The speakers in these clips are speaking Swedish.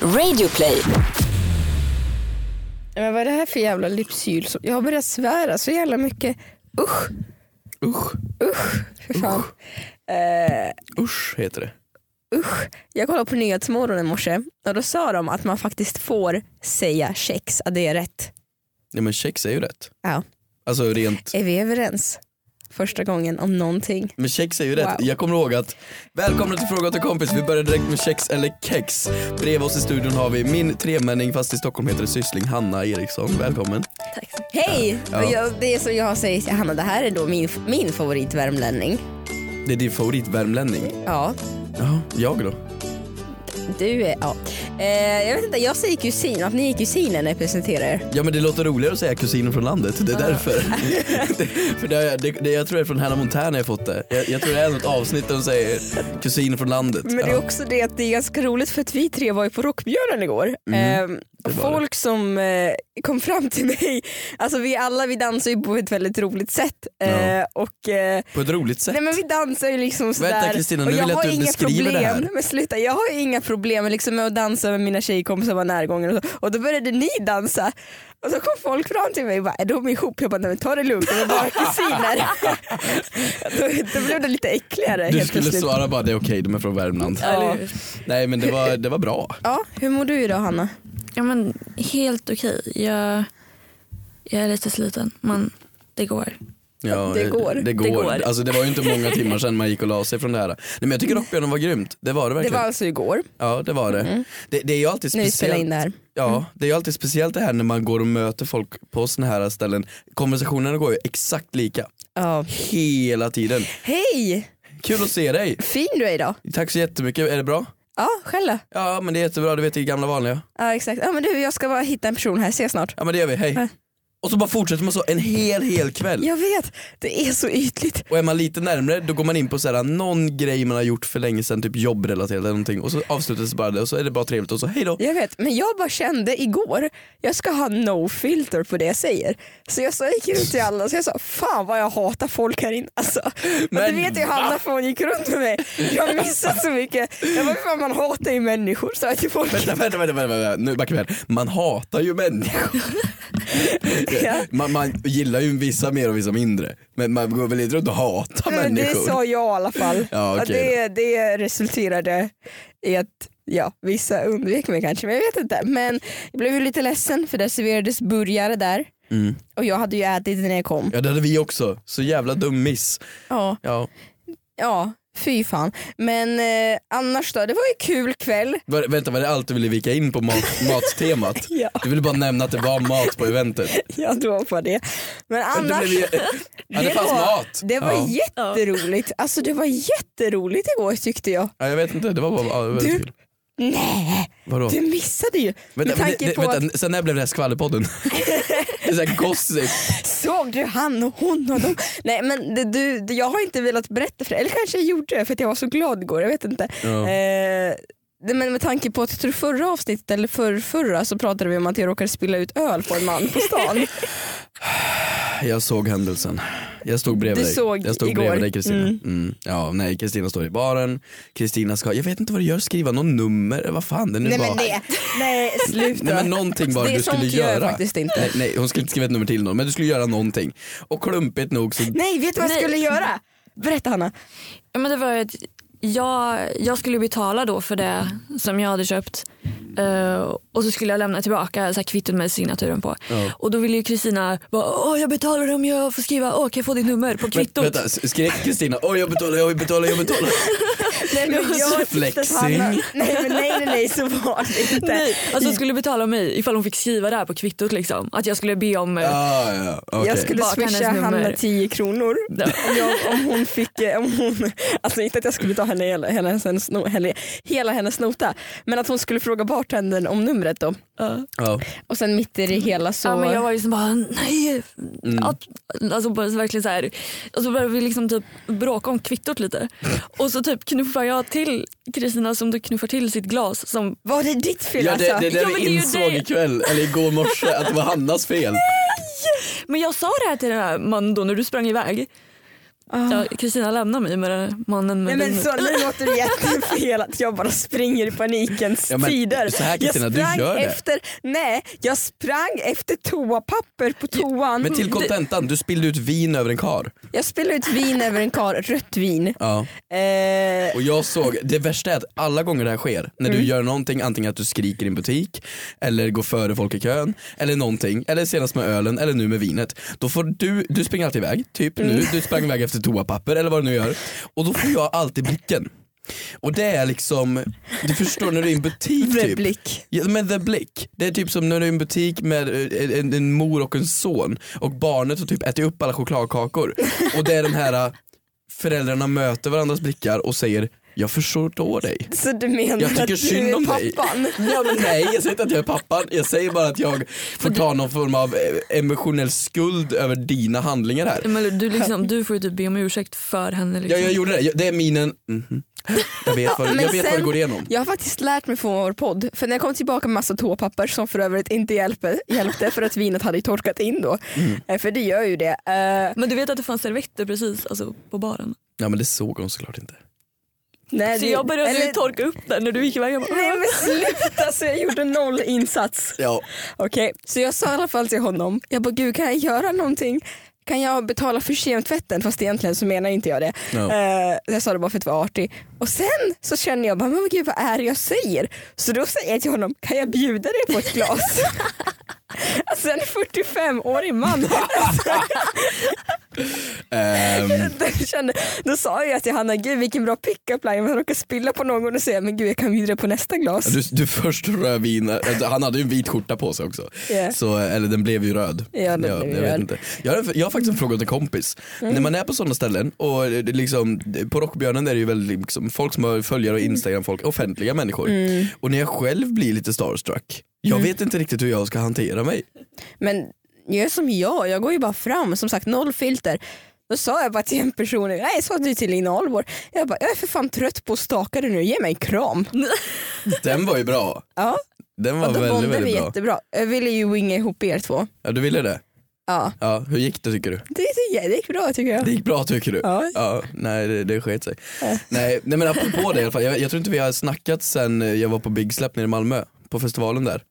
Radioplay. Men vad är det här för jävla lypsyl? som- Jag har börjat svära så jävla mycket. Usch, Usch, usch, för fan. Eh, usch heter det. usch. Jag kollade på Nyhetsmorgon i morse och då sa de att man faktiskt får säga kex, att det är rätt. Ja men kex är ju rätt. Ja. Alltså rent, Är vi överens? Första gången om någonting. men kex är ju rätt. Wow. Jag kommer ihåg att, välkomna till Fråga till kompis, vi börjar direkt med kex eller kex. Bredvid oss i studion har vi min tremänning fast i Stockholm heter det syssling, Hanna Eriksson. Välkommen. Hej! Ja. Och jag, det är som jag säger till Hanna, det här är då min, min favoritvärmlänning. Det är din favoritvärmlänning. Ja, Ja, jag då? du är, ja. Eh, jag vet inte, jag säger kusin, att ni är kusiner när jag presenterar er. Ja men det låter roligare att säga kusinen från landet, det är därför. det, för det, har jag- det, det, jag tror det är från Hannah Montana jag fått det. Jag, jag tror det är något avsnitt där de säger kusinen från landet. Men det är ja. också det att det är ganska roligt för att vi tre var ju på Rockbjörnen igår. Ehm, Mm. det var folk som eh, kom fram till mig, alltså vi alla vi dansar ju på ett väldigt roligt sätt. Eh, Ja. och, eh, På ett roligt sätt. nej men vi dansar ju liksom sådär. Kristina, nu och vill jag har att du inga beskriver det problem, här. Men sluta, jag har ju inga problem liksom, med att dansa med mina tjejkompisar var närgången och så. Och då började ni dansa. Och så kom folk fram till mig och bara, är de ihop? Jag bara, nej men ta det lugnt, de är bara kusiner. då, då blev det lite äckligare Du helt skulle plötsligt. svara bara det är okej, de är från Värmland. Ja. Nej men det var, det var bra. Ja, hur mår du idag Hanna? Ja men helt okej. Jag, jag är lite sliten men det går. Ja, Det går. Det, Det går. går. Alltså, det var ju inte många timmar sedan man gick och la sig från det här. Nej, men jag tycker Rockbjörnen var grymt, det var det Det verkligen. var alltså igår Ja det var det. det. Det är ju alltid när vi speciellt. spelade in det här. Mm. Ja, det är ju alltid speciellt det här när man går och möter folk på såna här ställen. Konversationerna går ju exakt lika Ja. hela tiden. Hej! Kul att se dig. Fin du är idag. Tack så jättemycket, är det bra? Ja, själv då? Ja men det är jättebra, du vet det gamla vanliga. Ja exakt. Ja men du jag ska bara hitta en person här, ses snart. Ja men det gör vi, hej. Ja. Och så bara fortsätter man så en hel hel kväll. Jag vet, det är så ytligt. Och är man lite närmre då går man in på så här, någon grej man har gjort för länge sedan, typ jobbrelaterat eller någonting och så avslutas bara det och så är det bara trevligt och så hej då. Jag vet, men jag bara kände igår, jag ska ha no filter på det jag säger. Så jag sa, gick runt till alla så jag sa, fan vad jag hatar folk här inne alltså. Men det Men vet ju Hanna för hon gick runt med mig. Jag har missat så mycket. Jag bara, fan man hatar ju människor sa jag till folk. Vänta, vänta, vänta, vänta, vänta. nu backar vi här. Man hatar ju människor. Ja. Man, man gillar ju vissa mer och vissa mindre. Men man går väl inte runt och hatar Men det människor. sa jag i alla fall. Ja, okej det, det resulterade i att ja, vissa undvek mig kanske, men jag vet inte. Men jag blev ju lite ledsen för det serverades burgare där Mm. och jag hade ju ätit när jag kom. Ja det hade vi också, så jävla dum miss. Ja, Ja. ja fy fan. Men eh, annars då, det var ju kul kväll. Var, vänta var det allt du ville vika in på mat, mattemat? Ja, Du ville bara nämna att det var mat på eventet. jag då på det. Men Det, annars, blev ju, ja, det fanns var, mat. Det var ja. jätteroligt. Alltså det var jätteroligt igår tyckte jag. Ja, jag vet inte, det var bara ja, väldigt Du- kul. Nej, Vadå? du missade ju. Vänta, Med tanke det, det, på att vänta sen när blev det här skvallerpodden? det är såhär gossip. Såg du han och hon och dem? Nej men det, du, det- jag har inte velat berätta för dig, eller kanske jag gjorde det för att jag var så glad igår, jag vet inte. Ja. Eh, det- men med tanke på att jag tror förra avsnittet eller för, förra så pratade vi om att jag råkade spilla ut öl på en man på stan. Jag såg händelsen. Jag stod bredvid Du dig. såg jag stod igår. bredvid dig Kristina. Mm. Mm. Ja, nej Kristina står i baren. Kristina ska, jag vet inte vad du gör, skriva något nummer, eller vad fan det nu nej var. men det, nej sluta. Nej men någonting bara det är du skulle sånt gör jag göra. faktiskt inte. Nej, nej hon skulle inte skriva ett nummer till någon men du skulle göra någonting. Och klumpigt nog så, Nej vet du vad jag Nej. skulle göra? Berätta Hanna. Ja, men det var ju att jag, jag skulle betala då för det som jag hade köpt eh, och så skulle jag lämna tillbaka så här kvittot med signaturen på. Ja. Och då ville ju Kristina bara, Åh, jag betalar om jag får skriva, Åh, kan jag få ditt nummer på kvittot? vänta s- skrek Kristina, oj jag betalar, jag betalar, jag betalar. Nej men jag tyckte att Flexing. Hanna, nej men nej nej, nej så var det inte. Nej, alltså hon skulle betala mig ifall hon fick skriva det här på kvittot liksom. Att jag skulle be om eh, Ah, ja, okej. Jag skulle Bara swisha hennes nummer. Hanna 10 kronor om, jag, om hon fick, eh, om hon, alltså inte att jag skulle ta henne hela, hela, hennes, no- hela, hela hennes nota men att hon skulle fråga bartendern om numret då ja. Ja. och sen mitt i det hela så Ja, men jag var liksom bara nej. Att, alltså bara så verkligen så här. Och så började vi liksom typ bråka om kvittot lite. Och så typ knuffar jag till Kristina som du knuffar till sitt glas. Som, Var det ditt fel Ja alltså? det, det, det Ja, men det är vi ju insåg det. ikväll, eller igår morse, att det var Hannas fel. men jag sa det här till den här mannen då när du sprang iväg. Ja, Kristina lämnar mig med den här mannen Ah. Nej med men den- så, nu låter det jättefel att jag bara springer i panikens Ja, men tider. så här, Kristina, jag du sprang gör det. efter, nej jag sprang efter toapapper på toan. Men till kontentan, du spillde ut vin över en kar. Jag spillde ut vin över en kar, rött vin. Ja. Eh, Och jag såg, det värsta är att alla gånger det här sker, när Mm. du gör någonting, antingen att du skriker i en butik, eller går före folk i kön, eller någonting, eller senast med ölen, eller nu med vinet. Då får du, du springer alltid iväg, typ Mm. nu, du sprang iväg efter toapapper eller vad du nu gör. Och då får jag alltid blicken. Och det är liksom, du förstår när du är i en butik The typ. blick. Ja, men the blick. Det är typ som när du är i en butik med eh, en, en mor och en son och barnet har typ ätit upp alla chokladkakor och det är den här eh, föräldrarna möter varandras blickar och säger jag förstår dig. Så du menar Jag att tycker du synd är om dig. pappan? Ja, men nej, jag säger inte att jag är pappan. Jag säger bara att jag får ta någon form av eh, emotionell skuld över dina handlingar här. Men du, liksom, du får ju typ be om ursäkt för henne. Ja, Liksom. jag gjorde det. Jag- Det är minen, mhm. jag vet vad, Men jag vet vad sen- det går igenom. Jag har faktiskt lärt mig från vår podd, för när jag kom tillbaka med massa toapapper som för övrigt inte hjälpte, hjälpte för att vinet hade ju torkat in då, Mm. Eh, för det gör ju det. Eh, Men du vet att det fanns servetter precis alltså, på baren? Ja men det såg hon såklart inte. nej, Så det- jag började eller- ju torka upp den när du gick iväg. Jag bara, Nej men sluta, så jag gjorde noll insats. Ja. Okej, så jag sa i alla fall till honom, jag bara gud kan jag göra någonting? Kan jag betala för kemtvätten? Fast egentligen så menar inte jag det. Ja. Eh, jag sa det bara för att vara artig. Och sen så känner jag bara, men gud vad är det jag säger? Så då säger jag till honom, kan jag bjuda dig på ett glas? alltså en 45-årig man. Alltså, Ehm, då, kände, då sa jag till Hanna, gud vilken bra pick-up line. Man råkar spilla på någon och säga, men gud jag kan bjuda dig på nästa glas. Du, du först röd vin, alltså, han hade ju en vit skjorta på sig också. Ja. Så, eller den blev ju röd. Ja, den jag, blev ju jag, vet röd. inte. Jag, har, en- jag har faktiskt en fråga till en kompis. När man är på sådana ställen, och det- det liksom, det- på Rockbjörnen är det ju väldigt liksom, folk som har följare Mm. och instagram folk, offentliga människor. Och när jag själv blir lite starstruck, jag Mm. vet inte riktigt hur jag ska hantera mig. Men jag är som jag, jag går ju bara fram. Som sagt, noll filter. Då sa jag bara till en person, nej sa du till Lina Ahlborg, jag bara jag är för fan trött på att staka dig nu, ge mig en kram. Den var ju bra. Ja, Den var och då väldigt, bondade vi väldigt bra. jättebra. Jag ville ju winga ihop er två. Ja, du ville det? Ja, Ja, hur gick det tycker du? det, det, det gick bra tycker jag. Det gick bra tycker du? Ja. nej det, det sket sig. Nej, nej men apropå det i alla fall, jag, jag tror inte vi har snackat sen eh, jag var på Big Slap nere i Malmö, på festivalen där.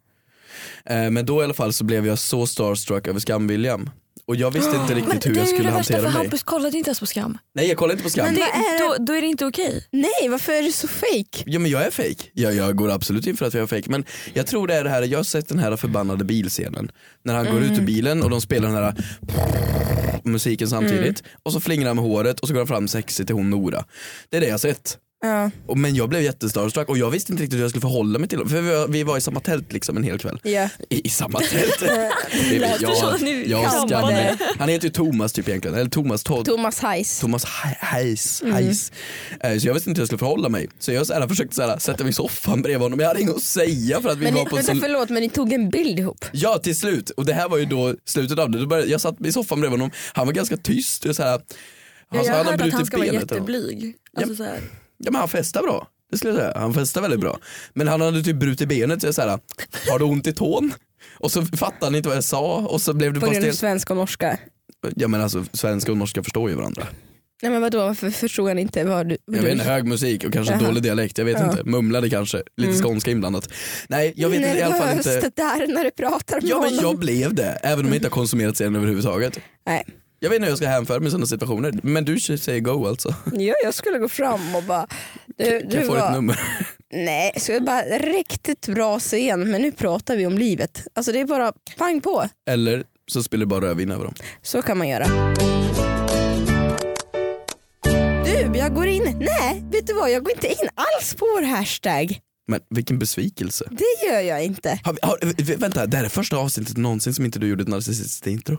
Eh, men då i alla fall så blev jag så starstruck över Skam-William. Och jag visste inte Men riktigt hur det jag är ju skulle det värsta för hantera mig. Hampus kollade inte ens på Skam. Nej jag kollar inte på Skam. Men- Det, Vad är det? då, då är det inte okej. Nej varför är du så fake? Ja men jag är fake. Jag, jag går absolut in för att jag är fake. Men jag tror det är det här, jag har sett den här förbannade bilscenen. När han går Mm. ut ur bilen och de spelar den här musiken samtidigt. Mm. Och så flingrar han med håret och så går han fram sexigt till hon Nora. Det är det jag har sett. Ja, Och- Men jag blev jättestarstruck och jag visste inte riktigt hur jag skulle förhålla mig till dem. För vi var, vi var i samma tält liksom en hel kväll. ja. I, i samma tält? Det är väl Lät det som att ni jag kammade. skam- nej. Han heter ju Thomas typ egentligen, eller Thomas Todd. Thomas Heiss. Thomas He- Heis, Mm. Heis. Eh, Så jag visste inte hur jag skulle förhålla mig. Så jag så här, försökte så här, sätta mig i soffan bredvid honom, jag hade inget att säga för att vi Men ni, var på vänta, så... förlåt men ni tog en bild ihop. Ja till slut, och det här var ju då slutet av det. Då började, jag satt i soffan bredvid honom, han var ganska tyst. Och så här, han, Jag sa, har Alltså, han har hört att brutit han ska vara benet eller något. jätteblyg. Alltså, så här. Ja men han festar bra. Det skulle jag säga. Han festar väldigt bra. Men han hade typ brutit benet så jag såhär, har du ont i tån? Och så fattade han inte vad jag sa och så blev det På bara grund av stel. svenska och norska. Ja men alltså svenska och norska förstår ju varandra. Nej men vadå varför förstod han inte vad du... Vad Jag vet du inte, hög musik och kanske Jaha. dålig dialekt, jag vet Ja. Mm. inte. Mumlade kanske, lite skånska inblandat. Nej jag vet inte, i alla fall Nervöst inte. det där när du pratar med Ja men honom. jag blev det, även om jag inte har konsumerat serien överhuvudtaget. Nej. Jag vet inte hur jag ska hänföra mig i sådana situationer, men du säger go alltså. Ja, jag skulle gå fram och bara... Du, Kan du jag få ditt var, nummer? nej, så jag bara riktigt bra scen men nu pratar vi om livet. Alltså det är bara pang på. Eller så spiller du bara rödvin över dem. Så kan man göra. Du, jag går in. Nej, vet du vad? Jag går inte in alls på vår hashtag. Men vilken besvikelse. Det gör jag inte. Har vi, har, vä- vänta, det här är första avsnittet någonsin som inte du gjorde ett narcissistiskt intro.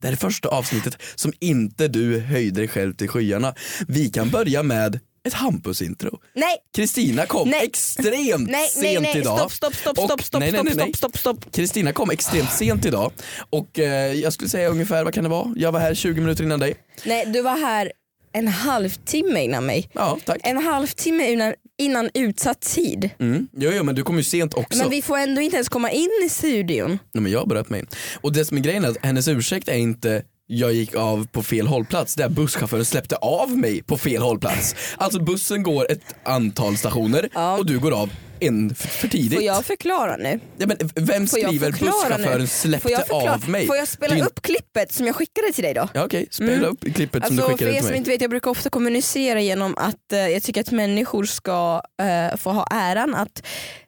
Det här är första avsnittet som inte du höjde dig själv till skyarna. Vi kan börja med ett Hampus-intro. Nej, Kristina kom Nej. extremt nej, sent nej, nej. idag. Stopp, stopp, stopp, Och- stopp, stopp, nej, nej, stopp, nej, nej. stopp, stopp, stopp. Kristina kom extremt sent idag och eh, jag skulle säga ungefär, vad kan det vara? Jag var här 20 minuter innan dig. Nej, du var här en halvtimme innan mig. Ja, tack. En halvtimme innan, innan utsatt tid. Mm. Jo, jo, men du kom ju sent också. Men vi får ändå inte ens komma in i studion. Nej, men jag bröt mig in. Och det som är grejen är att hennes ursäkt är inte jag gick av på fel hållplats där busschauffören släppte av mig på fel hållplats. Alltså bussen går ett antal stationer Ja. och du går av en f- för tidigt. Får jag förklara nu? ja, men vem Får jag skriver förklara nu? busschauffören Får släppte jag förklara? av mig? Får jag spela Det är ju- upp klippet som jag skickade till dig då? Ja, okej, spela Mm. upp klippet som Alltså, du för skickade er till som mig. inte vet, jag brukar ofta kommunicera genom att eh, jag tycker att människor ska eh, få ha äran att,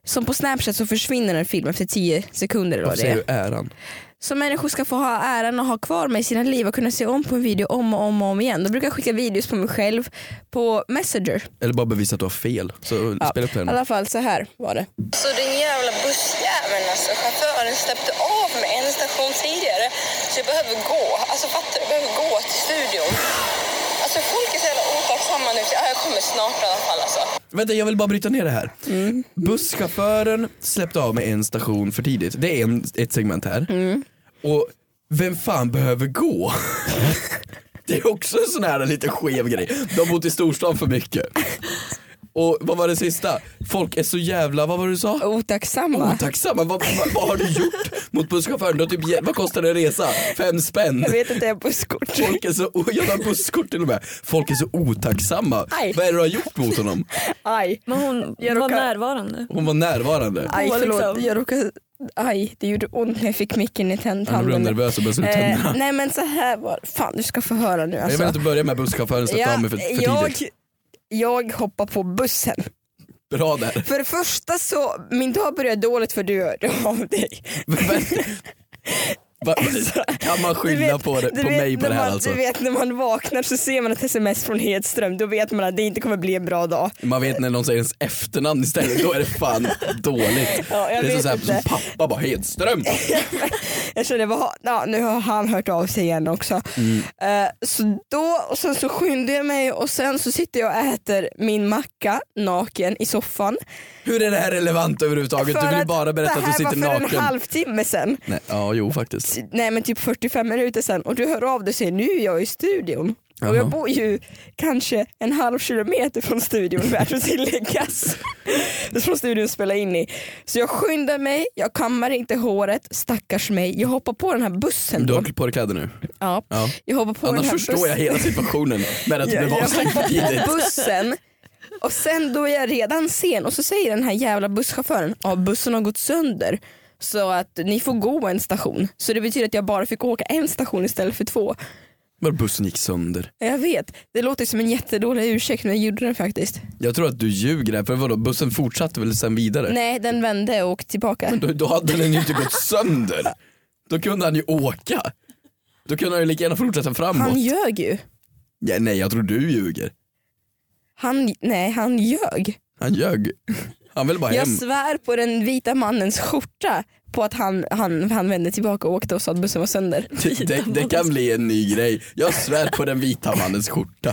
som på snapchat så försvinner en film efter 10 sekunder. Eller Varför vad det säger är. du äran? Så människor ska få ha äran att ha kvar mig i sina liv och kunna se om på en video om och om och om igen. Då brukar jag skicka videos på mig själv på messenger. Eller bara bevisa att du har fel. Så Ja. spela upp I den. alla fall så här var det. Så den jävla bussjäveln alltså. Chauffören släppte av mig en station tidigare. Så jag behöver gå. Alltså fattar du? Jag behöver gå till studion. Alltså folk är så jävla otacksamma nu. Så, ja, jag kommer snart i alla fall alltså. Vänta jag vill bara bryta ner det här. Mm. Busschauffören släppte av med en station för tidigt. Det är en, ett segment här. Mm. Och vem fan behöver gå? det är också en sån här lite skev grej. De har bott i storstan för mycket. Och vad var det sista? Folk är så jävla, vad var det du sa? Otacksamma. Otacksamma, vad, vad, vad har du gjort mot busschauffören? Du har typ, ge- vad kostar en resa? Fem spänn? jag vet inte, jag har busskort. Folk är så, oh, jag har busskort till och med. Folk är så otacksamma. Aj. Vad är det du har gjort mot honom? Aj. Men hon Jag var råkar- närvarande. Hon var närvarande. Aj På, förlåt, liksom. jag råkade... Aj, det gjorde ont när jag fick micken i Han blev tändtanden. nervös och började slå ut tänderna. Eh, nej men så här var Fan du ska få höra nu jag alltså. vill inte börja med busschauffören släppte av mig för, för tidigt. jag, jag hoppar på bussen. Bra där. För det första så, min dag börjar dåligt för du hörde av dig. Va, kan man Alltså, Du skylla vet- på, det, du på vet mig på när det här man, alltså? Du vet när man vaknar så ser man ett sms från Hedström, då vet man att det inte kommer bli en bra dag. Man vet när någon säger ens efternamn istället, då är det fan dåligt. Ja, jag det är vet så här, inte. som pappa bara Hedström. Jag kände, vad, har- ja, nu har han hört av sig igen också. Mm. Eh, så då, och sen så skyndar jag mig och sen så sitter jag och äter min macka naken i soffan. Hur är det här relevant överhuvudtaget? För Du vill bara berätta att du sitter Det här var för naken. en halvtimme sen. Nej, ja, jo faktiskt. Nej men typ 45 minuter sen och du hör av dig och säger nu är jag i studion. Och Jaha. jag bor ju kanske en halv kilometer från studion värt att tilläggas. Det är från studion att spela in i. Så jag skyndar mig, jag kammar inte håret, stackars mig. Jag hoppar på den här bussen Du då. har på dig kläder nu. Ja. Ja. Jag hoppar på den Annars här förstår bussen. jag hela situationen med att du Jag, blev jag avstängd för tidigt. hoppar på bussen och sen då är jag redan sen och så säger den här jävla busschauffören ja bussen har gått sönder så att ni får gå en station. Så det betyder att jag bara fick åka en station istället för två. Var bussen gick sönder. Jag vet, det låter som en jättedålig ursäkt men jag gjorde den faktiskt. Jag tror att du ljuger där, för vadå, bussen fortsatte väl sen vidare? Nej den vände och åkte tillbaka. Då, då hade den ju inte gått sönder. Då kunde han ju åka. Då kunde han ju lika gärna fortsätta framåt. Han ljög ju. Ja, nej, jag tror du ljuger. Han, nej han ljög. Han ljög. Han vill bara Jag hem. svär på den vita mannens skjorta på att han, han, han vände tillbaka och åkte och sa att bussen var sönder. Det, det, det kan bli en ny grej. Jag svär på den vita mannens skjorta.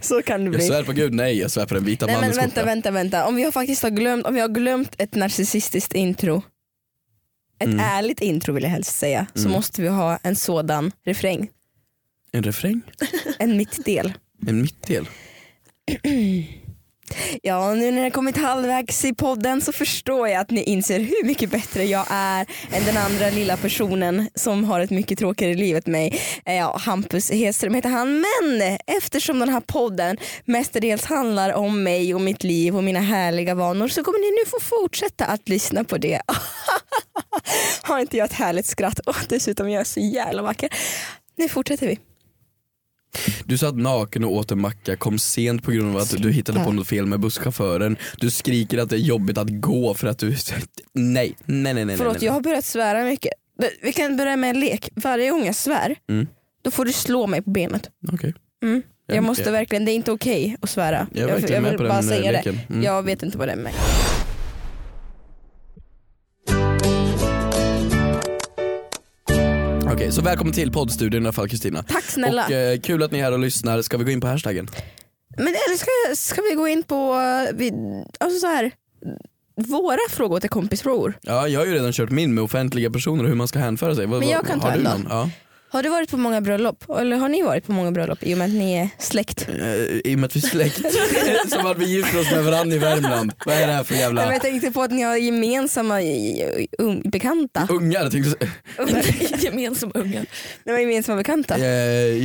Så kan det Jag bli. svär på gud, nej jag svär på den vita Nej men mannens vänta, skjorta. vänta, vänta. Om vi har faktiskt har glömt, om vi har glömt ett narcissistiskt intro, ett ärligt intro vill jag helst säga, så måste vi ha en sådan refräng. En refräng? En mittdel. En mittdel? Ja, nu när jag kommit halvvägs i podden så förstår jag att ni inser hur mycket bättre jag är än den andra lilla personen som har ett mycket tråkigare liv än mig. Eh, Ja, Hampus Hedström heter han. Men eftersom den här podden mestadels handlar om mig och mitt liv och mina härliga vanor så kommer ni nu få fortsätta att lyssna på det. har inte jag ett härligt skratt? Och dessutom, jag är så jävla vacker. Nu fortsätter vi. Du satt naken och åt en macka, kom sent på grund av att du hittade på något fel med busschauffören. Du skriker att det är jobbigt att gå för att du... Nej, nej, nej, nej. nej, Förlåt, nej. jag har börjat svära mycket. Vi- Vi kan börja med en lek. Varje gång jag svär, Mm. då får du slå mig på benet. Okej. Mm. Ja, Jag men- måste ja. verkligen, det är inte okej att svära. Jag är verkligen jag med vill på den, bara eh, säga leken. det. Mm. Jag vet inte vad det är med. Okej, så välkommen till poddstudion i alla fall Kristina. Tack snälla. Och eh, kul att ni är här och lyssnar. Ska vi gå in på hashtaggen? Men eller ska, ska vi gå in på eh, vi, alltså så här, våra frågor till kompisfrågor? Ja, jag har ju redan kört min med offentliga personer och hur man ska hänföra sig. Vad- Men jag vad- kan har ta du en då. någon? Ja. Har du varit på många bröllop? Eller har ni varit på många bröllop i och med att ni är släkt? Eh, I och med att vi är släkt. Som att vi gifter oss med varandra i Värmland. Vad är det här för Nej, men jävla Jag tänkte på att ni har gemensamma i- i- um, bekanta. ungar? Tänkte jag säga. Gemensamma ungar. Ni har gemensamma bekanta. Eh,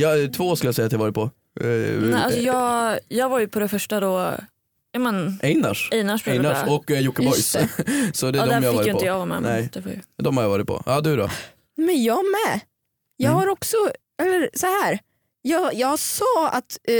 ja, två skulle jag säga att jag varit på. Eh, Nej, alltså jag, jag var ju på det första då, ja men Einars. Einars bröllop. Einars där. och eh, Jocke Just Boys. det. Så det är Ja, de jag där har fick ju varit inte på. jag vara med. men Nej. Det var ju... De har jag varit på. Ja du då? Men jag med. Jag Mm. har också, eller så här. Jag, jag sa att, eh,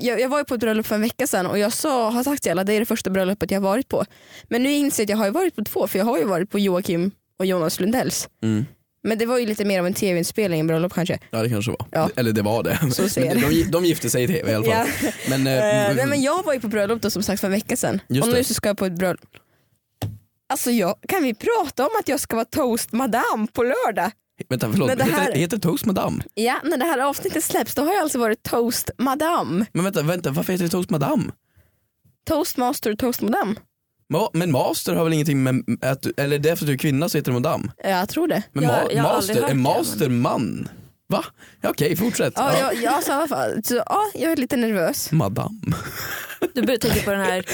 jag, jag var ju på ett bröllop för en vecka sedan och jag sa, har sagt till alla det är det första bröllopet jag har varit på. Men nu inser jag att jag har ju varit på två för jag har ju varit på Joakim och Jonas Lundells. Mm. Men det var ju lite mer av en tv-inspelning än bröllop kanske. Ja det kanske var. Ja. Eller det var det. Så ser Men jag de, de gifte sig i tv i alla fall. Men, eh, Eh, nej, men jag var ju på bröllop då, som sagt för en vecka sedan Just och nu det. så ska jag på ett bröllop. Alltså jag, kan vi prata om att jag ska vara toast madame på lördag? vänta förlåt, Men det här- heter, heter Toast Madame? Ja, när det här avsnittet släpps då har jag alltså varit toast madame. Men vänta, vänta varför heter det Toast Madame? Toastmaster och toastmadam. Ma- Men master har väl ingenting med att, du- eller det är för att du är kvinna så heter det madame. Ja, Jag tror det. Men Jag- ma- jag har aldrig master, hört är det, men- master man? Va? Ja, Okej, fortsätt. Ja, Ja. Jag, jag, så, i alla fall- så, ja, jag är lite nervös. Madame. Du började tänka på den här,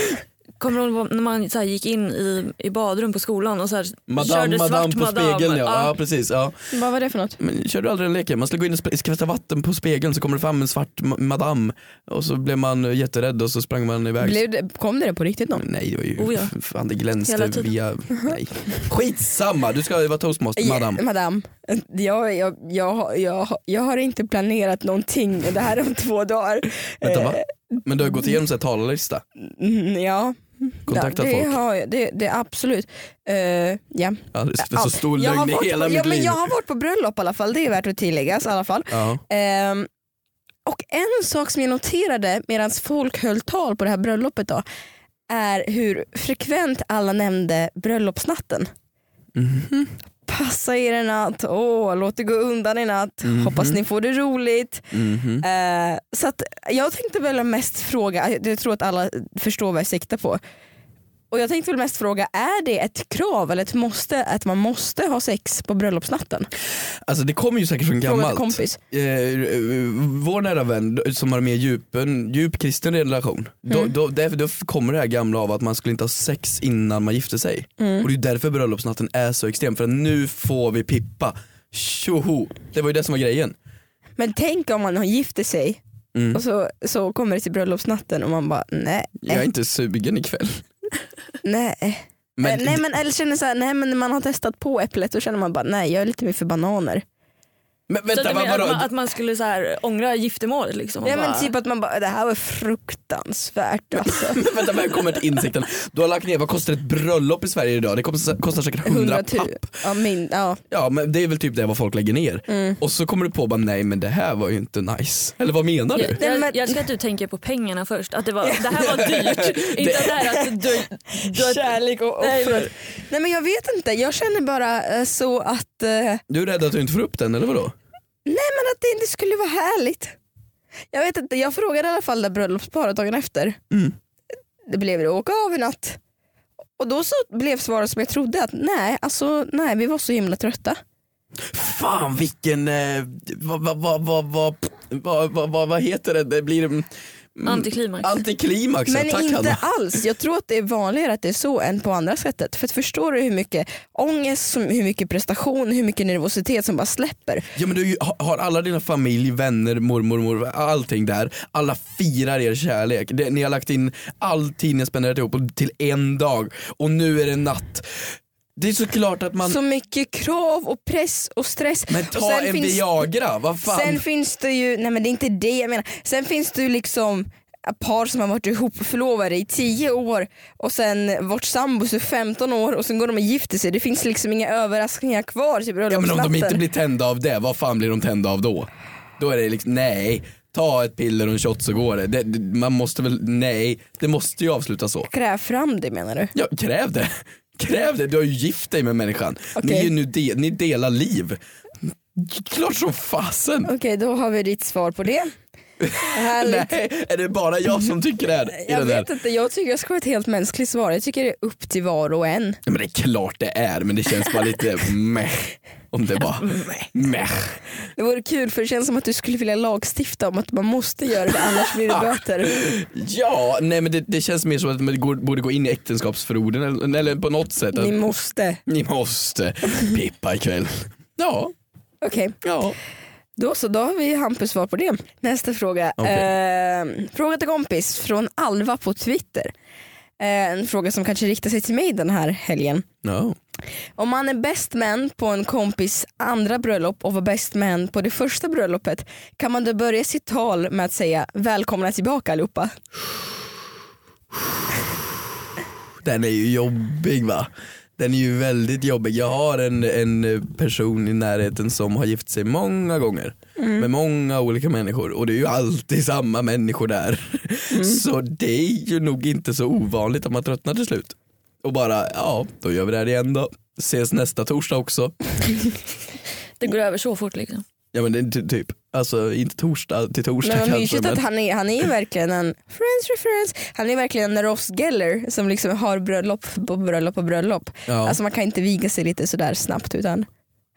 kommer du ihåg när man så här gick in i, i badrum på skolan och så här, Madame, körde madame svart på madame. spegeln ja. ja Ja. precis. Ja. Vad var det för något? Men kör du aldrig den leken? Man skulle gå in och sp- skvätta vatten på spegeln så kommer det fram en svart ma- madame och så blev man eh, jätterädd och så sprang man iväg. Blev det, kom det på riktigt någon? Nej det var ju, Oh, ja. f- fan det glänste Hela tiden. via, nej. Skitsamma, du ska ju vara toastmaster madame. Ja, madame. Jag, jag, jag, har- jag, har- jag har inte planerat någonting. Det här är om två dagar. Vänta va? Men du har gått igenom så här talarlista? Mm, ja. Kontaktat det, folk? Har jag, det, det är absolut. Eh, ja. Ja, det är så Ja, stor jag har lögn i varit hela på, mitt ja, men liv. Jag har varit på bröllop i alla fall, det är värt att tilläggas i alla fall. Ja. Ehm, och en sak som jag noterade medan folk höll tal på det här bröllopet då, är hur frekvent alla nämnde bröllopsnatten. Mhm, Passa er i natt, åh, låt det gå undan i natt, hoppas ni får det roligt. Mhm. Eh, så att jag tänkte väl mest fråga, jag tror att alla förstår vad jag siktar på. Och jag tänkte väl mest fråga, är det ett krav eller ett måste att man måste ha sex på bröllopsnatten? Alltså det kommer ju säkert från Fråga till gammalt. kompis. Eh, eh, vår nära vän som har mer djup, en djup kristen relation, då, Mm. då, därför, då kommer det här gamla av att man skulle inte ha sex innan man gifte sig. Mm. Och det är därför bröllopsnatten är så extrem, för att nu får vi pippa. Tjoho! Det var ju det som var grejen. Men tänk om man har gifter sig och så, så kommer det till bröllopsnatten och man bara nej, Jag Eh. är inte sugen ikväll. nej. Men, Eh, nej men eller känner så här, nej men när man har testat på äpplet så känner man bara nej jag är lite mer för bananer. men Så vänta, att, du vad, menar, att, man, vadå? att man skulle så här, ångra giftermålet liksom? och Ja men bara- typ att man bara det här var fruktansvärt alltså. Vänta, välkommen till insikten. Du har lagt ner, vad kostar ett bröllop i Sverige idag? Det kostar, kostar säkert 100 Hundratu- typ. papp. Ja, min, ja. Ja men det är väl typ det vad folk lägger ner. Mm. Och så kommer du på bara nej men det här var ju inte nice. Eller vad menar du? Jag, jag, men- jag älskar att du tänker på pengarna först, att det, var, det här var dyrt. Inte att det här att du, du har- Kärlek och Nej, men- offer. Nej men jag vet inte, jag känner bara eh, så att, eh, nej Du är rädd att du inte får upp den eller vadå? men att det inte skulle vara härligt. Jag vet inte, jag frågade i alla fall det bröllopsparet dagen efter. Mm. Det blev det åka av i natt. Och då så blev svaret som jag trodde att nej, alltså nej vi var så himla trötta. Fan vilken, eh, vad vad vad vad vad vad vad vad vad heter det? Det blir mm, Antiklimax. antiklimax. Men ja. Tack inte Hanna. alls, jag tror att det är vanligare att det är så än på andra sättet. För att förstår du hur mycket ångest, som- hur mycket prestation, hur mycket nervositet som bara släpper. Ja men du har ju- ha- har alla dina familj, vänner, mormor, mor, allting där. Alla firar er kärlek. Det, ni har lagt in all tid ni har spenderat ihop till en dag och nu är det natt. Det är såklart att man, Så mycket krav och press och stress. men och ta sen en finns- Viagra, vad fan. Sen finns det ju, nej men det är inte det jag menar. Sen finns det ju liksom ett par som har varit ihop förlovade i 10 år och sen varit sambos i 15 år och sen går de och gifter sig. Det finns liksom inga överraskningar kvar till Ja, men om de inte bröllopsnatten. blir tända av det, vad fan blir de tända av då? Då är det liksom, nej, ta ett piller och en shot så går det. det, det man måste väl, nej, det måste ju avslutas så. Kräv fram det menar du? Ja, kräv det. Kräv det, du har ju gift dig med människan. Ni, är ju nu de, ni delar liv. Klart som fasen. Okej då har vi ditt svar på det. Härligt. Nej, är det bara jag som tycker det här? i Jag den här? vet inte, jag tycker jag ska ha ett helt mänskligt svar. Jag tycker det är upp till var och en. Nej, men det är klart det är, men det känns bara lite meh. om det var meh. Det vore kul för det känns som att du skulle vilja lagstifta om att man måste göra det annars blir det böter. Ja, nej men det, det känns mer som att man går- borde gå in i äktenskapsförorden eller, eller på något sätt. Ni Att, måste. ni måste pippa ikväll. Ja, Okej, ja. då så. Då har vi Hampus svar på det. Nästa fråga. Okej. Eh, fråga till kompis från Alva på Twitter. Eh, en fråga som kanske riktar sig till mig den här helgen. No. Om man är best man på en kompis andra bröllop och var best man på det första bröllopet kan man då börja sitt tal med att säga välkomna tillbaka allihopa? Den är ju jobbig va? Den är ju väldigt jobbig. Jag har en, en person i närheten som har gift sig många gånger med många olika människor och det är ju alltid samma människor där. Så det är ju nog inte så ovanligt att man tröttnar till slut. Och bara, ja då gör vi det här igen då. Ses nästa torsdag också. Det går över så fort liksom. Ja men det är ty- typ, alltså inte torsdag till torsdag Men vad kanske, mysigt men- att han är, han är ju verkligen en friends reference. Han är verkligen en Ross Geller som liksom har bröllop på bröllop på bröllop. ja, Alltså man kan inte viga sig lite sådär snabbt utan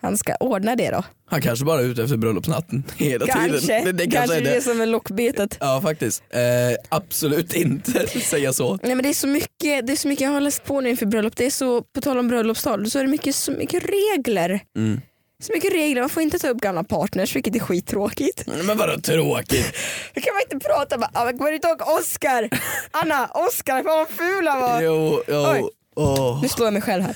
han ska ordna det då. Han kanske bara är ute efter bröllopsnatten hela Kanske, tiden. Det, det kanske, kanske är det. det som är lockbetet. Ja faktiskt. Eh, absolut inte säga så. Nej men det är så mycket, det är så mycket jag har läst på nu inför bröllop. Det är så, på tal om bröllopstal så är det mycket, så mycket regler. Mm. Så mycket regler, man får inte ta upp gamla partners vilket är skittråkigt. Men vadå tråkigt? Då kan man inte prata bara, ah, men kommer du inte ihåg Oscar? Anna, Oscar, fan vad ful han var. Jo, Oj. jo. åh. Nu slår jag mig själv här.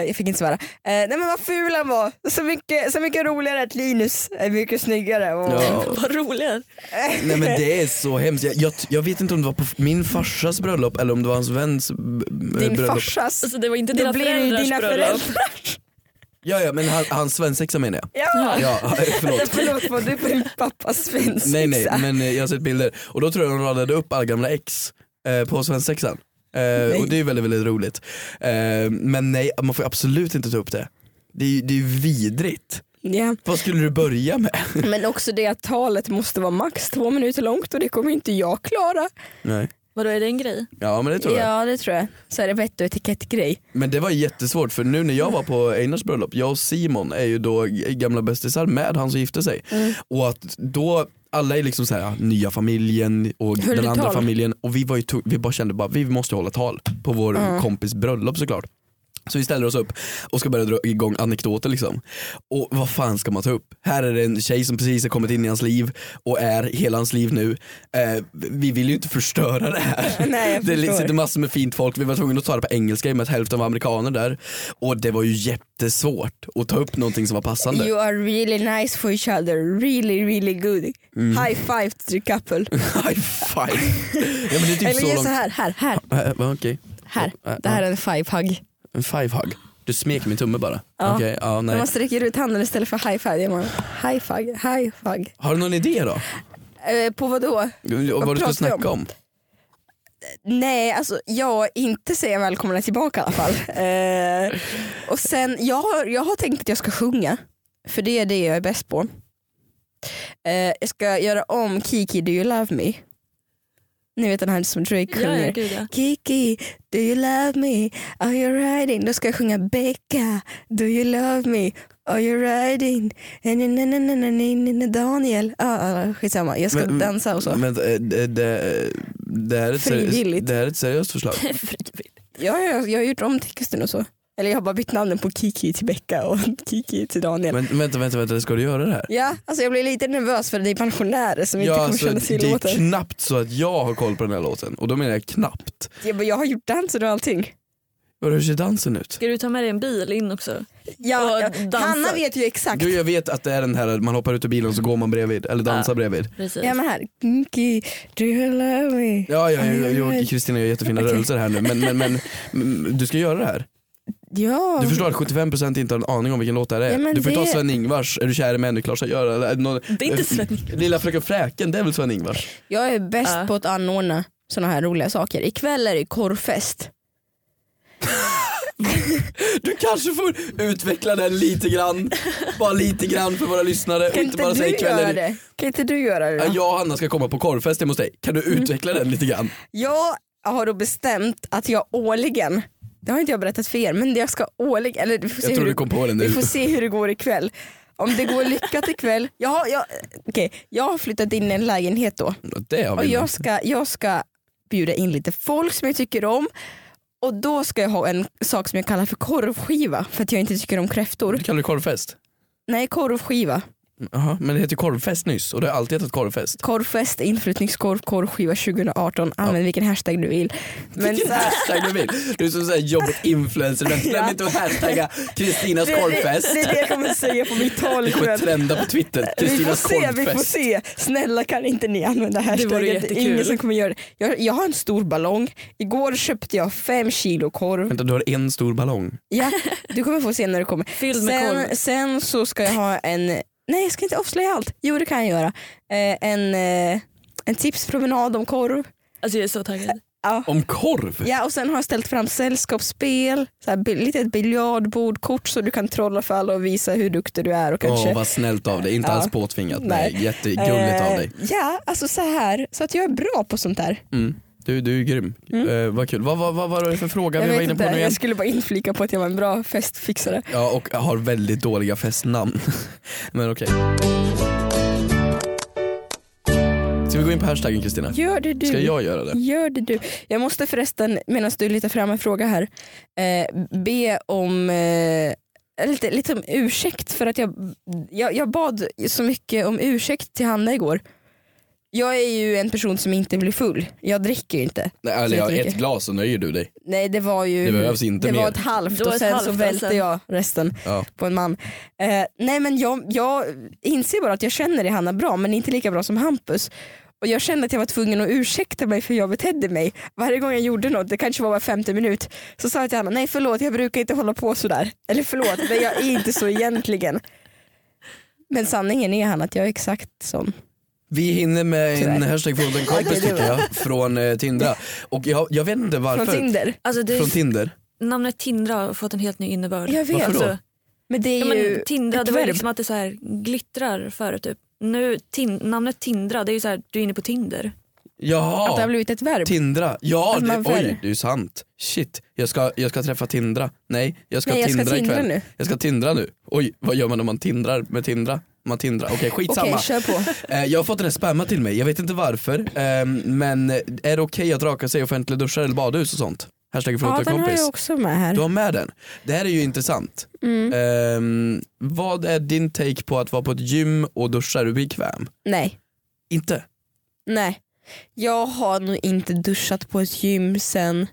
Eh, jag fick inte svära. Eh, nej men vad ful han var. Så mycket, så mycket roligare att Linus är mycket snyggare. Och... Ja. Vad roligt. Nej men det är så hemskt. Jag, jag, jag vet inte om det var på min farsas bröllop eller om det var hans väns eh, Din bröllop. farsas. Alltså, det var inte Då dina blir det ju föräldrars dina bröllop. föräldrar. Ja, ja men han, hans svensexa menar jag. Ja. Ja, förlåt. Förlåt vad du är på din pappas svensexa. Nej nej men eh, jag har sett bilder och då tror jag de radade upp alla gamla ex eh, på svensexan. Eh, och det är ju väldigt väldigt roligt. Eh, men nej man får absolut inte ta upp det. Det är ju det är ju vidrigt. Ja. Vad skulle du börja med? Men också det att talet måste vara max två minuter långt och det kommer inte jag klara. Nej. Vadå är det en grej? Ja men det tror jag. Ja det tror jag. Så är det vett och etikettgrej. Men det var jättesvårt för nu när jag var på Einars bröllop, jag och Simon är ju då g- gamla bästisar med han som gifte sig. Mm. Och att då, alla är liksom så här, ja, nya familjen och Höll den du andra tal? familjen och vi, var ju to- vi bara kände bara vi måste hålla tal på vår Mm. kompis bröllop såklart. Så vi ställer oss upp och ska börja dra igång anekdoter liksom. Och vad fan ska man ta upp? Här är det en tjej som precis har kommit in i hans liv och är hela hans liv nu. Eh, vi vill ju inte förstöra det här. Nej, jag det förstår. sitter massor med fint folk, vi var tvungna att ta det på engelska i och med att hälften var amerikaner där. Och det var ju jättesvårt att ta upp någonting som var passande. You are really nice for each other. Really really good. Mm. High five to the couple. High five. Ja, men det är typ Eller så gör långt. så här, här, här, Eh, va, Okej, här. Ja, ja. Det här är en five hug. en five hug. Du smeker min tumme bara. Ja. Okej, ja, När nej. man sträcker ut handen istället för high five gör man high five, high five. Har du någon idé då? Eh, på vad då? Och vad du pratar ska vi snacka om? om? Nej, alltså jag inte säga välkomna tillbaka i alla fall. Eh, och sen, jag har, jag har tänkt att jag ska sjunga, för det är det jag är bäst på. Eh, jag ska göra om Kiki Do You Love Me. Ni vet den här som Drake Ja, ja, sjunger. gud, ja. Kiki, do you love me? Are you riding? Då ska jag sjunga Becka, do you love me? Are you riding? Na, na, na, na, na, na, na, na, Daniel. Ah, ah, skitsamma, jag ska mm. Men- dansa och så. Men eh, det, det, det, här är ett seri- Frivilligt. det här är ett seriöst förslag. Frivilligt. Ja, jag, jag har gjort om texten och så. Eller jag har bara bytt namnen på Kiki till Becka och Kiki till Daniel. Men, vänta, vänta, vänta, ska du göra det här? Ja, alltså jag blir lite nervös för det är pensionärer som inte Ja, kommer alltså, känna till det är låten. knappt så att jag har koll på den här låten och då menar jag knappt. Jag, bara, jag har gjort dansen och allting. Och Hur ser dansen ut? Ska du ta med dig en bil in också? Ja, Och ja, dansa. Hanna vet ju exakt. Du jag vet att det är den här man hoppar ut ur bilen och så går man bredvid eller dansar Ja. bredvid. Precis. Ja men här, Kiki, do you love me? Ja, ja, ja, ja, ja, Kristina gör jättefina Okej. rörelser här nu men, men, men mm, du ska göra det här. Ja. Du förstår att 75% inte har en aning om vilken låt det här är. Ja, men du får ta det- Sven-Ingvars, Är du kär i mig ännu, klart ska jag göra. Eller, någon, Det är inte Sven. Eh, Lilla fröken Fräken, det är väl Sven-Ingvars? Jag är bäst Ja. på att anordna sådana här roliga saker. Ikväll är det korvfest. Du kanske får utveckla den lite grann. Bara lite grann för våra lyssnare. och Kan inte, bara du säga göra kvällen- det? Kan inte du göra det Ja, då? jag och Hanna ska komma på korvfest Mm. hemma hos dig. Kan du utveckla den lite grann? Jag har då bestämt att jag årligen det har inte jag berättat för er, men jag ska ålägga, eller vi får se, Jag tror hur, du kom på den vi nu. får se hur det går ikväll. Om det går lyckat ikväll, jag har, jag, okej, jag har flyttat in i en lägenhet då Det har och vi jag nog. ska, jag ska bjuda in lite folk som jag tycker om och då ska jag ha en sak som jag kallar för korvskiva för att jag inte tycker om kräftor. Du kallar det korvfest? Nej korvskiva, Jaha, men det heter korvfest nyss och det har alltid hetat korvfest. korvfest, inflyttningskorv, korvskiva 2018, använd vilken hashtag du vill. Men så här, Hashtag du vill. Du är som sån här jobbinfluencer, men glöm Ja. inte att hashtagga Kristinas det, det, korvfest. det är det jag kommer säga på mitt tal Det kommer ikväll. trenda på Twitter, Vi får Kristinas se, vi får korvfest. se. Snälla kan inte ni använda hashtaggen? vore är jättekul. ingen som kommer göra det. Jag, jag har en stor ballong. Igår köpte jag fem kilo korv. Vänta, du har en stor ballong. Ja, du kommer få se när du kommer. Fylld med korv. Sen, sen så ska jag ha en, nej jag ska inte avslöja allt. Jo det kan jag göra. Eh, en, eh, en tipspromenad om korv. Alltså jag är så taggad. Om korv? Ja och sen har jag ställt fram sällskapsspel, så här, bi- litet biljardbord, kort så du kan trolla för alla och visa hur duktig du är. Och Åh kanske vad snällt av dig, inte Ja. alls påtvingat. Nej. Nej, jättegulligt av Eh, dig. Ja, alltså så här. Så att jag är bra på sånt där. Mm. Du, du är grym. Eh, vad kul. Vad, vad, vad var det för fråga Mm. jag vi var vet inne på inte, nu igen? jag skulle bara inflika på att jag var en bra festfixare. Ja, och har väldigt dåliga festnamn. Men okej. Ska vi gå in på hashtaggen Kristina? Gör det du. Ska jag göra det? Gör det du. Jag måste förresten, medan du letar fram en fråga här, eh, be om eh, lite, lite om ursäkt för att jag, jag, jag bad så mycket om ursäkt till Hanna igår. Jag är ju en person som inte blir full. Jag dricker ju inte. Nej, eller, Så ja, jag ett glas så nöjer du dig. Nej det var ju Det behövs inte det var mer. ett halvt Det var och ett sen halvt så och välte sen- jag resten Ja. på en man. Eh, nej men jag, jag inser bara att jag känner det Hanna bra men inte lika bra som Hampus. Och jag kände att jag var tvungen att ursäkta mig för hur jag betedde mig. Varje gång jag gjorde något, det kanske var var femte minut, så sa jag till Hanna, nej förlåt jag brukar inte hålla på sådär. Eller förlåt, men jag är inte så egentligen. Men sanningen är Hanna att jag är exakt sån. Vi hinner med en Tyvärr. hashtag från en kompis Okej, det tycker jag, från eh, Tindra. Och jag, jag vet inte varför. Från Tinder. Alltså det Från Tinder. namnet Tindra har fått en helt ny innebörd. Jag vet. Varför då? Alltså, Men det är ja, ju men, tindra, ett det var ju verb. liksom att det så här glittrar förut typ. Nu, tin, namnet Tindra, det är ju så här, du är inne på Tinder. att det har Jaha, blivit ett verb. Tindra. Ja, Att det, man förr- oj det är ju sant. Shit, jag ska, jag ska träffa Tindra. Nej, jag ska Nej, jag ska Tindra tindra ikväll. nu. Jag ska Tindra nu. Oj, vad gör man om man Tindrar med Tindra? Man tindrar. Okej, skitsamma. Okej, kör på. Eh, Jag har fått den här spamma till mig, jag vet inte varför. Eh, Men är det okej att raka sig i offentliga duschar eller badhus och sånt? Hashtag förlåt Ja, en den har kompis. jag också med här. Mm. Du har med den. Det här är ju intressant. Eh, vad är din take på att vara på ett gym och duscha? Är du bekväm? Nej, Inte? nej. Jag har nog inte duschat på ett gym sen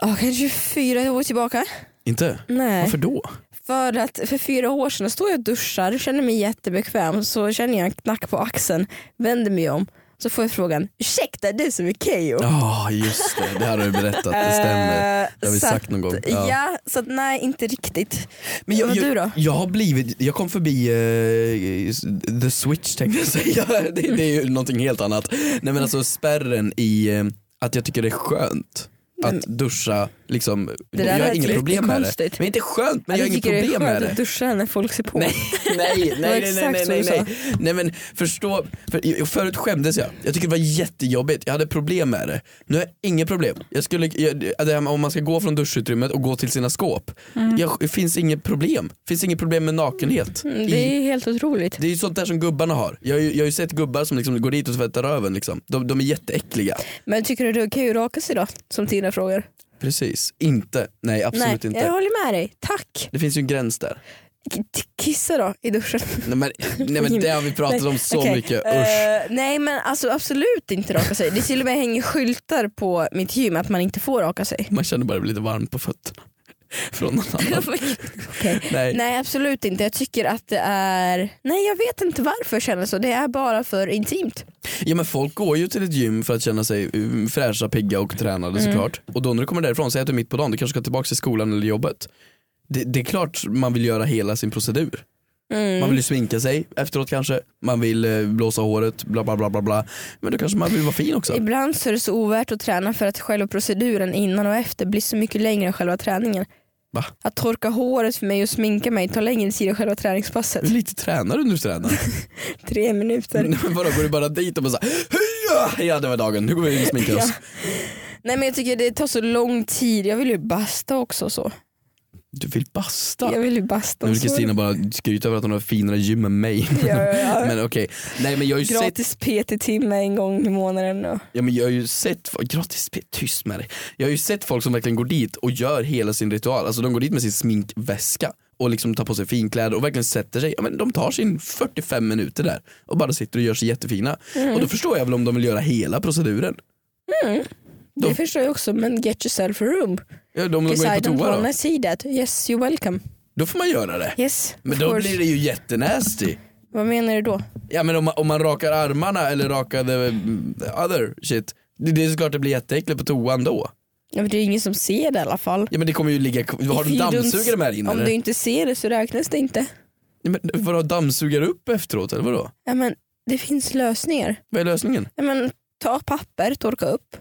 ja, kanske fyra år tillbaka. Inte? Nej. Oh. Varför då? För att för fyra år sedan står jag och duschar, känner mig jättebekväm, så känner jag en knack på axeln, vänder mig om, så får jag frågan ursäkta är du som är Keyyo? Ja just det, det här har du berättat, det stämmer. Eh, Det har vi så sagt att- någon gång. Ja. så att nej inte riktigt. Men jag, Vad jag, du då? jag har blivit, jag kom förbi eh, the switch tänkte jag säga, det, det är ju någonting helt annat. Nej men alltså spärren i eh, att jag tycker det är skönt att duscha, liksom, jag har lät inget lite problem med det. konstigt. Men inte skönt men jag har inget Alltså, tycker problem det är med skönt det. att duscha när folk ser på. Nej, nej, var nej, nej, exakt nej, så nej, du nej. nej men förstå, för, förut skämdes jag. Jag tycker det var jättejobbigt, jag hade problem med det. Nu har jag inget problem. Jag skulle, jag, det här, med om man ska gå från duschutrymmet och gå till sina skåp, Mm. jag, det finns inget problem. Det finns inget problem med nakenhet. Mm, Det är helt otroligt. det är ju sånt där som gubbarna har. Jag, har ju- jag har ju sett gubbar som liksom går dit och tvättar röven. Liksom. De, de är jätteäckliga. Men tycker du det är okej att raka sig då? Som Tina frågar. Precis, inte. Nej absolut Nej, inte. Jag håller med dig, tack. Det finns ju en gräns där. K- t- Kissa då i duschen. Nej men, nej, men det har vi pratat om så Okej. mycket, usch. Eh, nej men alltså absolut inte raka sig. Det till och med hänger skyltar på mitt gym att man inte får raka sig. Man känner bara det blir lite varmt på fötterna. Från någon annan. Okej. Nej. Nej absolut inte. Jag tycker att det är, nej jag vet inte varför jag känner så. Det är bara för intimt. Ja men folk går ju till ett gym för att känna sig um, fräscha, pigga och tränade såklart. Och då när du kommer därifrån, säg att du är mitt på dagen, du kanske ska tillbaka till skolan eller jobbet. Det, det är klart man vill göra hela sin procedur. Mm. Man vill ju sminka sig efteråt kanske, man vill eh, blåsa håret, bla bla bla bla bla. Men då kanske man vill vara fin också. Ibland så är det så ovärt att träna för att själva proceduren innan och efter blir så mycket längre än själva träningen. Va? Att torka håret för mig och sminka mig tar längre tid än själva träningspasset. Hur lite tränar du nu tränar? Tre minuter. Nej, men vadå, går du bara dit och bara såhär, heja, ja det var dagen, nu går vi in och sminkar oss. Nej men jag tycker det tar så lång tid, jag vill ju basta också så. Du vill basta? Jag vill ju basta. Nu vill så. Kristina bara skryta över att hon har finare gym än mig. Ja, ja, ja. Men okej, nej men jag har ju sett Gratis PT-timme en gång i månaden. Och. Ja, men jag har ju sett, gratis, tyst med dig. Jag har ju sett folk som verkligen går dit och gör hela sin ritual. Alltså de går dit med sin sminkväska och liksom tar på sig finkläder och verkligen sätter sig. Ja, men de tar sin 45 minuter där och bara sitter och gör sig jättefina. Mm. Och då förstår jag väl om de vill göra hela proceduren. Det De- förstår jag också men get yourself a room. Ja, de, de Because går in I på don't toa då. wanna see that. Yes you're welcome. Då får man göra det. Yes, Men of då course. blir det ju jättenasty. Vad menar du då? Ja men om man, om man rakar armarna eller rakar the, mm, the other shit. Det, det är såklart det blir jätteäckligt på toan då. Ja, men det är ju ingen som ser det i alla fall. Ja men det kommer ju ligga Har If du you don't- dammsugare med dig inne Om eller? du inte ser det så räknas det inte. Ja, Men vadå dammsugare upp efteråt eller vadå? Ja, men det finns lösningar. Vad är lösningen? Ja, men ta papper, torka upp.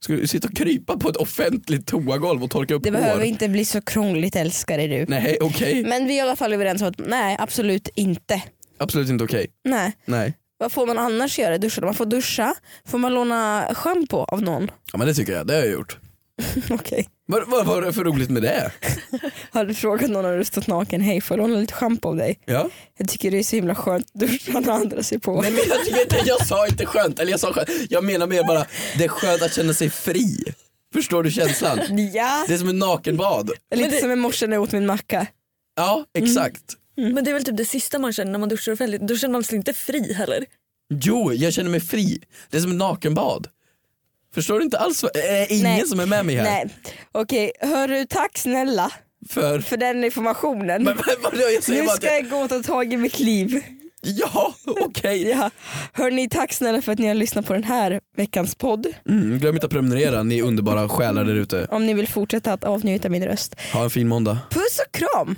Ska du sitta och krypa på ett offentligt toagolv och torka upp Det hår? behöver inte bli så krångligt älskare du. Nej okej, Men vi är i alla fall överens om att nej absolut inte. absolut inte okej. Nej. Nej. Vad får man annars göra? Duscha? Man får duscha. Får man låna schampo av någon? Ja men det tycker jag, det har jag gjort. Okej. Vad vad var det för roligt med det? Har du frågat någon om du stått naken? Hej får jag låna lite schampo av dig? Ja. Jag tycker det är så himla skönt att duscha när andra ser på. Nej men jag tycker inte, jag sa inte skönt, eller jag sa skönt, jag menar mer bara det är skönt att känna sig fri. Förstår du känslan? Ja. Det är som en nakenbad. Lite Men det- som i morse när jag åt min macka. Ja Mm. exakt. Men det är väl typ det sista man känner när man duschar offentligt. Då känner man sig inte fri heller. Jo, jag känner mig fri. Det är som en nakenbad. Förstår du inte alls? vad- Är det ingen Nej. som är med mig här? Nej. Okej, hörru tack snälla För... för den informationen. Men, men, vadå, jag säger nu bara att ska jag... jag gå och ta tag i mitt liv. Ja, okej. Ja. Hörni, tack snälla för att ni har lyssnat på den här veckans podd. Mm, glöm inte att prenumerera, ni är underbara själar där ute. Om ni vill fortsätta att avnjuta min röst. Ha en fin måndag. Puss och kram!